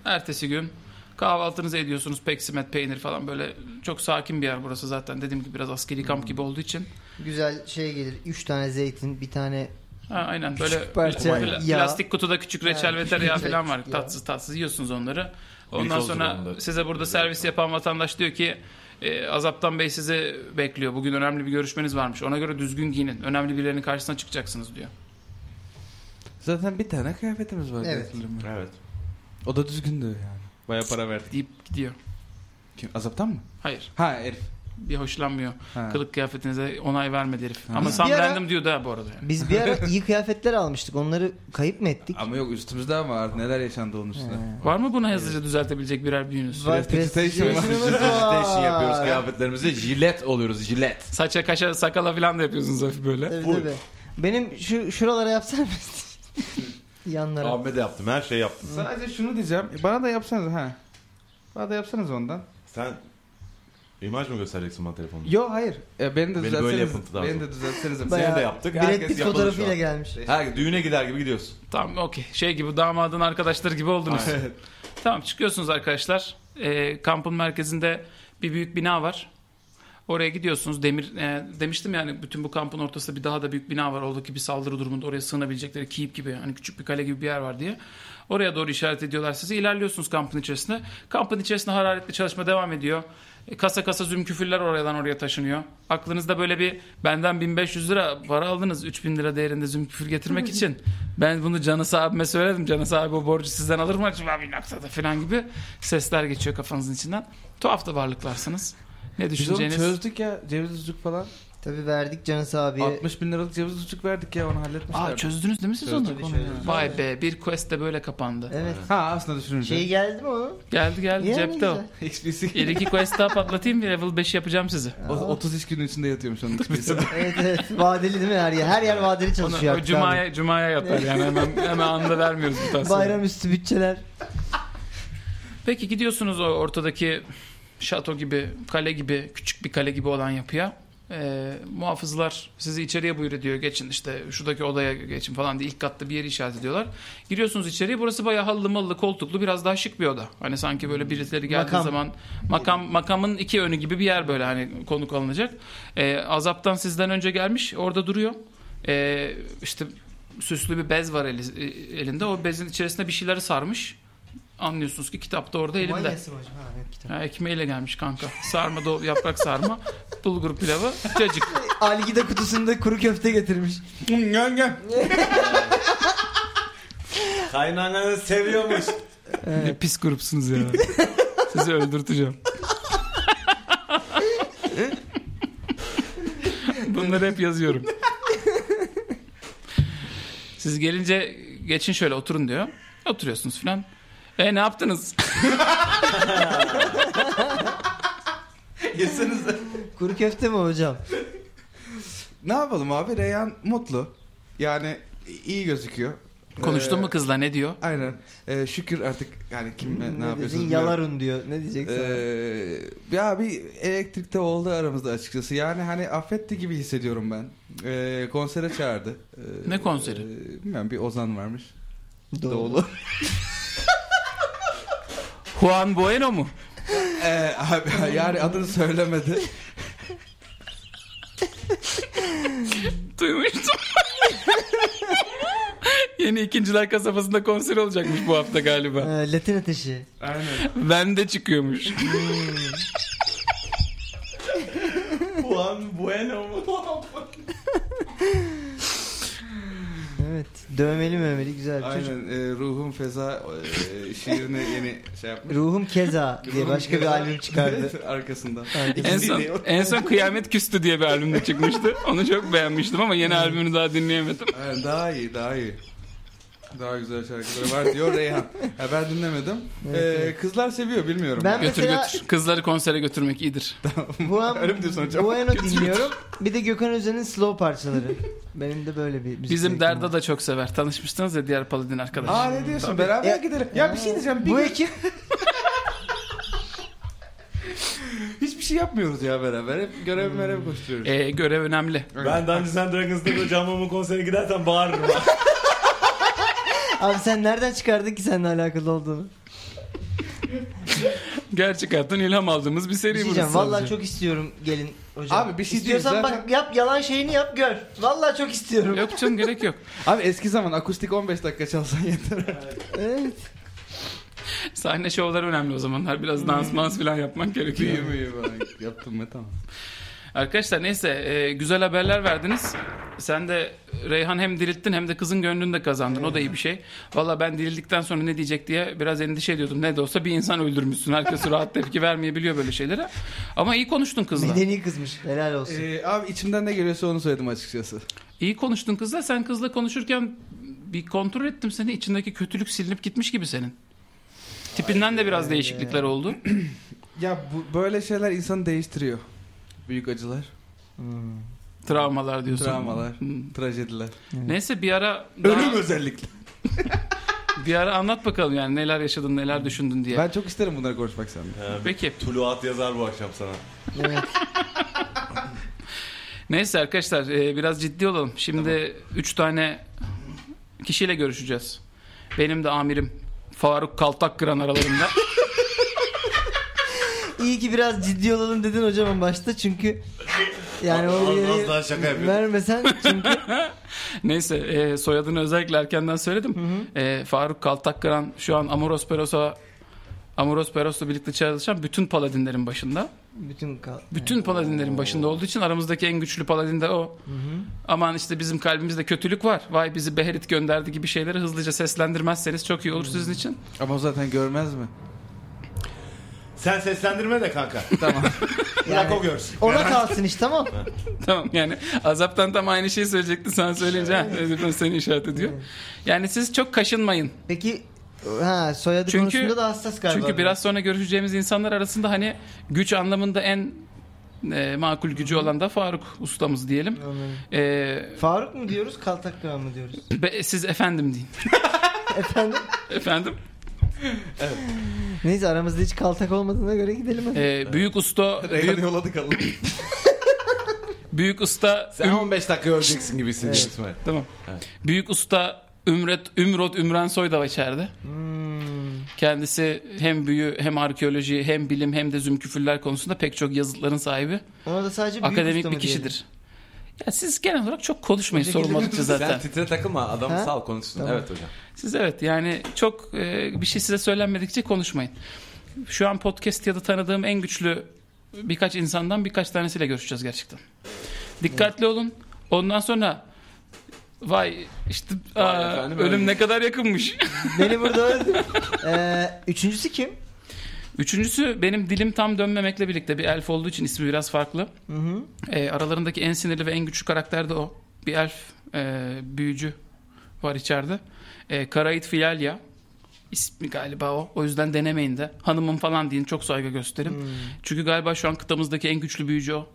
Ertesi gün kahvaltınızı ediyorsunuz. Peksimet, peynir falan böyle çok sakin bir yer burası zaten. Dediğim gibi biraz askeri kamp gibi olduğu için. Güzel şey gelir. Üç tane zeytin, bir tane Ha, aynen böyle parça pla- yağ. plastik kutuda küçük reçel Ha, ve küçük tereyağı reçel, falan var. küçük yağ. Tatsız tatsız yiyorsunuz onları. Glikoz Ondan da sonra bunda. size burada servis yapan vatandaş diyor ki e, Azaptan Bey sizi bekliyor. Bugün önemli bir görüşmeniz varmış. Ona göre düzgün giyinin. Önemli birilerinin karşısına çıkacaksınız diyor. Zaten bir tane kıyafetimiz var. Evet. diye hatırlıyorum. Evet. O da düzgündü yani. Baya para verdik. Deyip gidiyor. Kim? Azaptan mı? Hayır. Ha herif. Bir hoşlanmıyor. Ha. Kılık kıyafetinize onay vermedi herif. Ha. Ama Biz Sam bir ara- random diyor da bu arada. yani. Biz bir ara iyi kıyafetler almıştık. Onları kayıp mı ettik? Ama yok üstümüzde ama var. Neler yaşandı onun üstüne. Ee, Var mı buna hızlıca düzeltebilecek birer büyünüz? var, prestigitation var. prestigitation Station yapıyoruz kıyafetlerimizi. Jilet oluyoruz jilet. Saça kaşa sakala falan da yapıyorsunuz hafif böyle. Tabii tabii. Benim şu şuralara yapsana mısın? Yanlara. Ahmet de yaptım her şeyi yaptım. Sadece şunu diyeceğim. E, Bana da yapsanız ha. Bana da yapsanız ondan. Sen imaj mı göstereceksin bana telefonunu? Yo hayır. E, beni de Beni düzeltseniz. böyle yapın daha beni sonra. de düzeltseniz. Bayağı de yaptık, Brad herkes Pitt yapıldı şu fotoğrafıyla an. gelmiş. Her düğüne gider gibi gidiyorsun. Tamam okey. Şey gibi damadın arkadaşları gibi oldunuz. tamam çıkıyorsunuz arkadaşlar. Ee, kampın merkezinde bir büyük bina var. Oraya gidiyorsunuz. Demir e, demiştim yani bütün bu kampın ortasında bir daha da büyük bina var. Oradaki bir saldırı durumunda oraya sığınabilecekleri kiyip gibi hani küçük bir kale gibi bir yer var diye. Oraya doğru işaret ediyorlar sizi. İlerliyorsunuz kampın içerisinde. Kampın içerisinde hararetli çalışma devam ediyor. E, Kasa kasa zümküfürler oradan oraya taşınıyor. Aklınızda böyle bir benden 1500 lira para aldınız 3000 lira değerinde zümküfür getirmek için. Ben bunu Canıs abime söyledim. Canıs abi o borcu sizden alır mı acaba bir noktada falan gibi sesler geçiyor kafanızın içinden. Tuhaf da varlıklarsınız. Ne Biz onu düşüneceğiniz? çözdük ya ceviz ucuk falan. Tabii verdik Canıs abiye. 60 bin liralık ceviz ucuk verdik ya onu halletmişler. Aa çözdünüz değil mi siz onu? Çözdük, çözdük. Vay be bir quest de böyle kapandı. Evet. ha aslında düşününce. Şey geldi mi o? Geldi geldi Yani cepte o. güzel. XPC. Bir iki quest daha patlatayım bir level 5 yapacağım sizi. Aa. O- 30 iş günün içinde yatıyormuş onun XPC. evet evet. Vadeli değil mi her yer? Her yer vadeli Onu, çalışıyor o artık abi. cumaya, cumaya yatar yani hemen, hemen anında vermiyoruz bu tarz şeyleri. Bayram üstü bütçeler. Peki gidiyorsunuz o ortadaki şato gibi, kale gibi, küçük bir kale gibi olan yapıya. Ee, muhafızlar sizi içeriye buyur ediyor. Geçin işte şuradaki odaya geçin falan diye ilk katta bir yeri işaret ediyorlar. Giriyorsunuz içeriye. Burası bayağı halılı mallı koltuklu biraz daha şık bir oda. Hani sanki böyle birileri geldiği Makam. zaman makam makamın iki önü gibi bir yer böyle hani konuk alınacak. Ee, azaptan sizden önce gelmiş orada duruyor. Ee, işte süslü bir bez var eli- e, elinde. O bezin içerisinde bir şeyleri sarmış. Anlıyorsunuz ki kitap da orada elinde. Manyası mı hocam? Ha, evet, kitap. Ha, ekmeğiyle gelmiş kanka. Sarma, do- yaprak sarma, bulgur pilavı, cacık. Algida kutusunda kuru köfte getirmiş. gel gel. Kaynananı seviyormuş. Ne Ee, pis grupsunuz ya. Sizi öldürteceğim. Bunları hep yazıyorum. Siz gelince geçin şöyle oturun diyor. Oturuyorsunuz filan. E ne yaptınız? Yesenize. Kuru köfte mi hocam? ne yapalım abi Reyhan mutlu. Yani iyi gözüküyor. Konuştun Ee, mu kızla ne diyor? Aynen. Ee, şükür artık yani kim ne, ne dedin? yapıyorsunuz? Yalarun diyor. Ne diyeceksin? Ee, ya bir elektrikte oldu aramızda açıkçası. Yani hani affetti gibi hissediyorum ben. Ee, konsere çağırdı. Ee, Ne konseri? e, bilmem bir Ozan varmış. Doğru. Juan Bueno mu? Ee, abi, yani adını söylemedi. Duymuştum. Yeni ikinciler kasabasında konser olacakmış bu hafta galiba. Ee, Latin ateşi. Aynen. Ben de çıkıyormuş. Juan Bueno mu? Evet. Dövmeli mövmeli güzel bir çocuk. Aynen. e, ruhum feza e, şiirini yeni şey yapmış. Ruhum Keza diye başka bir albüm çıkardı. Arkasından. en son, en son Kıyamet Küstü diye bir albümde çıkmıştı. Onu çok beğenmiştim ama Hmm. yeni albümünü daha dinleyemedim. Aynen, daha iyi daha iyi. Daha güzel şarkıları var diyor Reyhan. Ha, ben dinlemedim. Ee, kızlar seviyor bilmiyorum. Ben- Götür Mesela- götür. Kızları konsere götürmek iyidir. Juan Öyle mi diyorsun hocam? Bueno dinliyorum. Bir de Gökhan Özen'in slow parçaları. Benim de böyle bir müzik Bizim zevkim Derda var. da çok sever. Tanışmıştınız ya diğer Paladin arkadaş. Aa ne diyorsun beraber Ya- gidelim. Ya bir şey diyeceğim. Bir Bu gün- ekip Hiçbir şey yapmıyoruz ya beraber. Hep görev merev koşturuyoruz. Ee, görev önemli. Ben Dungeons and Dragons'da da Can konsere gidersen bağırırım. Abi sen nereden çıkardın ki seninle alakalı olduğunu? Gerçek hayattan ilham aldığımız bir Bir seri burası. şey diyeceğim. Vallahi sadece. çok istiyorum gelin hocam. Abi bir şey değil, İstiyorsan zaten- bak yap yalan şeyini yap gör. Vallahi çok istiyorum. Yok canım gerek yok. Abi eski zaman akustik 15 dakika çalsan yeter. Evet. Sahne şovları önemli o zamanlar. Biraz Hmm. dans mans falan yapmak gerekiyor. büyü büyü falan. Yaptım mı tamam. Arkadaşlar neyse e, güzel haberler verdiniz. Sen de Reyhan hem dirilttin hem de kızın gönlünü de kazandın. O da iyi bir şey. Valla ben dirildikten sonra ne diyecek diye biraz endişe ediyordum. Ne de olsa bir insan öldürmüşsün. Herkes rahat tepki vermeyebiliyor böyle şeylere. Ama iyi konuştun kızla. Medeni kızmış. Helal olsun. Ee, abi içimden ne geliyorsa onu söyledim açıkçası. İyi konuştun kızla. Sen kızla konuşurken bir kontrol ettim seni. İçindeki kötülük silinip gitmiş gibi senin. Tipinden de biraz değişiklikler oldu. Ya bu, böyle şeyler insanı değiştiriyor. Büyük acılar, Hmm. Travmalar diyorsun. travmalar, Hmm. trajediler. Neyse bir ara daha- Ölüm özellikle. bir ara anlat bakalım yani neler yaşadın neler düşündün diye. Ben çok isterim bunları konuşmak senden. Peki. Tuluat yazar bu akşam sana. Evet. Neyse arkadaşlar e, biraz ciddi olalım. Şimdi 3 tane kişiyle görüşeceğiz. Benim de amirim Faruk Kaltak kıran aralarında. İyi ki biraz ciddi olalım dedin hocam en başta çünkü yani Az- o az yeri daha şaka yapıyordum. vermesen çünkü Neyse e, soyadını özellikle erkenden söyledim. E, Faruk Kaltak kıran şu an Amoros Perosa Amoros Peros'la birlikte çalışan bütün paladinlerin başında. Bütün kal- Bütün paladinlerin başında olduğu için aramızdaki en güçlü paladin de o. Aman işte bizim kalbimizde kötülük var. Vay bizi Beherit gönderdi gibi şeyleri hızlıca seslendirmezseniz çok iyi olur sizin için. Ama o zaten görmez mi? Sen seslendirme de kanka. Tamam. Bırak Yani- o görsün. Ona kalsın işte tamam. Tamam yani azaptan tam aynı şeyi söyleyecekti sen söyleyince ha, Ezebel seni işaret ediyor. Yani siz çok kaşınmayın. Peki ha soyadı Çünkü- konusunda da hassas galiba. Çünkü biraz sonra görüşeceğimiz insanlar arasında hani güç anlamında en e, makul gücü olan da Faruk ustamız diyelim. Anladım. E, Faruk mu diyoruz, Kaltak Kağan mı diyoruz? be- siz efendim deyin. Efendim? efendim. Neyse aramızda hiç kaltak olmadığına göre gidelim hadi. E, büyük usta büyük, yolladık alın. büyük usta Sen 15 dakika öleceksin gibisin Evet. İsmail. Tamam. Büyük usta Ümret, Ümrot Ümran Soy da içeride. Hmm. Kendisi hem büyü hem arkeoloji hem bilim hem de zümküfürler konusunda pek çok yazıtların sahibi. Ona da sadece büyük akademik usta mı bir kişidir. Ya siz genel olarak çok konuşmayın Ötekileri- sorulmadıkça zaten. Sen titre takılma adamı Ha? sal konuşsun. Tamam. Evet hocam. Siz evet yani çok e, bir şey size söylenmedikçe konuşmayın. Şu an podcast ya da tanıdığım en güçlü birkaç insandan birkaç tanesiyle görüşeceğiz gerçekten. Dikkatli olun. Ondan sonra vay işte Vay aa, efendim, ölüm öyle. ne kadar yakınmış. diyelim. Beni burada öldür. Ee, üçüncüsü kim? Üçüncüsü benim dilim tam dönmemekle birlikte bir elf olduğu için ismi biraz farklı. Hı hı. E, aralarındaki en sinirli ve en güçlü karakter de o. Bir elf e, büyücü var içeride. E, Karayit Filalya ismi galiba o. O yüzden denemeyin de. Hanımım falan deyin çok saygı gösterim. Hmm. Çünkü galiba şu an kıtamızdaki en güçlü büyücü o.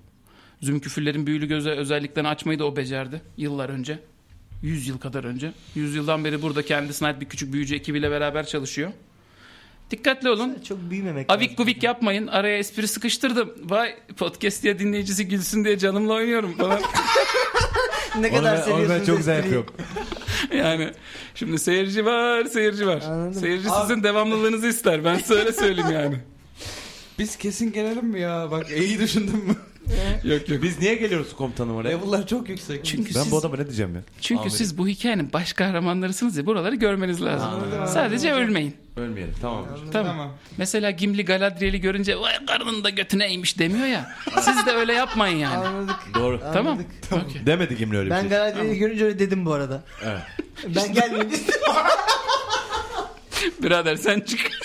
Zümküfürlerin büyülü göze özelliklerini açmayı da o becerdi yıllar önce. 100 yıl kadar önce. 100 yıldan beri burada kendisine ait bir küçük büyücü ekibiyle beraber çalışıyor. Dikkatli olun. Çok büyümemek Avik lazım. guvik yapmayın. Araya espri sıkıştırdım. Vay podcast diye dinleyicisi gülsün diye canımla oynuyorum falan. Ne kadar seviyorsunuz çok espriyi. zevk yok. yani şimdi seyirci var, seyirci var. Anladım. Seyirci sizin devamlılığınızı ister. Ben söyle söyleyeyim yani. Biz kesin gelelim mi ya? Bak iyi düşündün mü? yok yok. Biz niye geliyoruz komutanım oraya? Level'lar çok yüksek. Çünkü Ben siz, bu adama ne diyeceğim ya? çünkü Abi. siz bu hikayenin baş kahramanlarısınız ya buraları görmeniz lazım. Sadece ölmeyin. Ölmeyelim tamam. Tamam. Mesela Gimli Galadriel'i görünce vay karnının da götüne eğmiş demiyor ya. siz de öyle yapmayın yani. Anladık. Doğru. Tamam. anladık. Okey. Demedi Gimli öyle bir Ben şey. Galatasaray'ı görünce öyle dedim bu arada. Evet. ben gelmedim. Birader sen çık.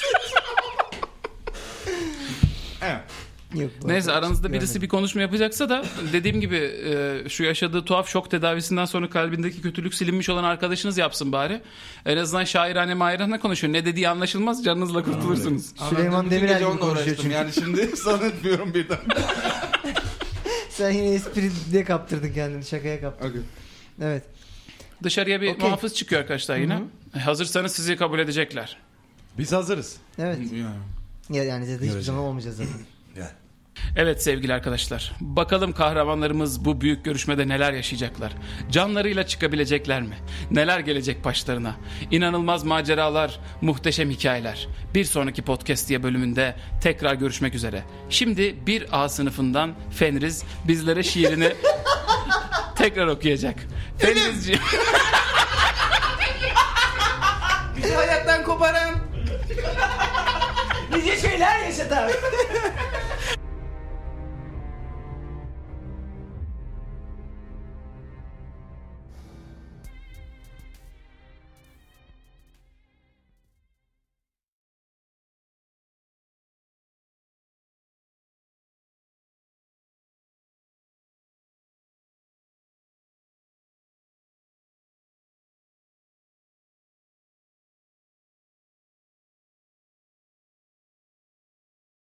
Yok, bu Neyse arada aranızda görmedim. birisi bir konuşma yapacaksa da dediğim gibi e, şu yaşadığı tuhaf şok tedavisinden sonra kalbindeki kötülük silinmiş olan arkadaşınız yapsın bari. En azından şairane mairane konuşun. Ne dediği anlaşılmaz canınızla kurtulursunuz. Süleyman Bütün Demirel gece gibi onunla konuşuyor uğraştım. çünkü. Yani şimdi Zannetmiyorum birden. Sen yine espri diye kaptırdın kendini şakaya kaptırdın. Okey. Evet. Dışarıya bir Okey. muhafız çıkıyor arkadaşlar yine. E, Hazırsanız sizi kabul edecekler. Biz hazırız. Evet. Ya, yani zaten hiçbir Göreceğiz. zaman olmayacağız zaten. Evet sevgili arkadaşlar. Bakalım kahramanlarımız bu büyük görüşmede neler yaşayacaklar. Canlarıyla çıkabilecekler mi? Neler gelecek başlarına? İnanılmaz maceralar, muhteşem hikayeler. Bir sonraki podcast diye bölümünde tekrar görüşmek üzere. Şimdi 1A sınıfından Fenriz bizlere şiirini tekrar okuyacak. Fenrizciğim. hayattan koparan. Nice şeyler yaşat abi.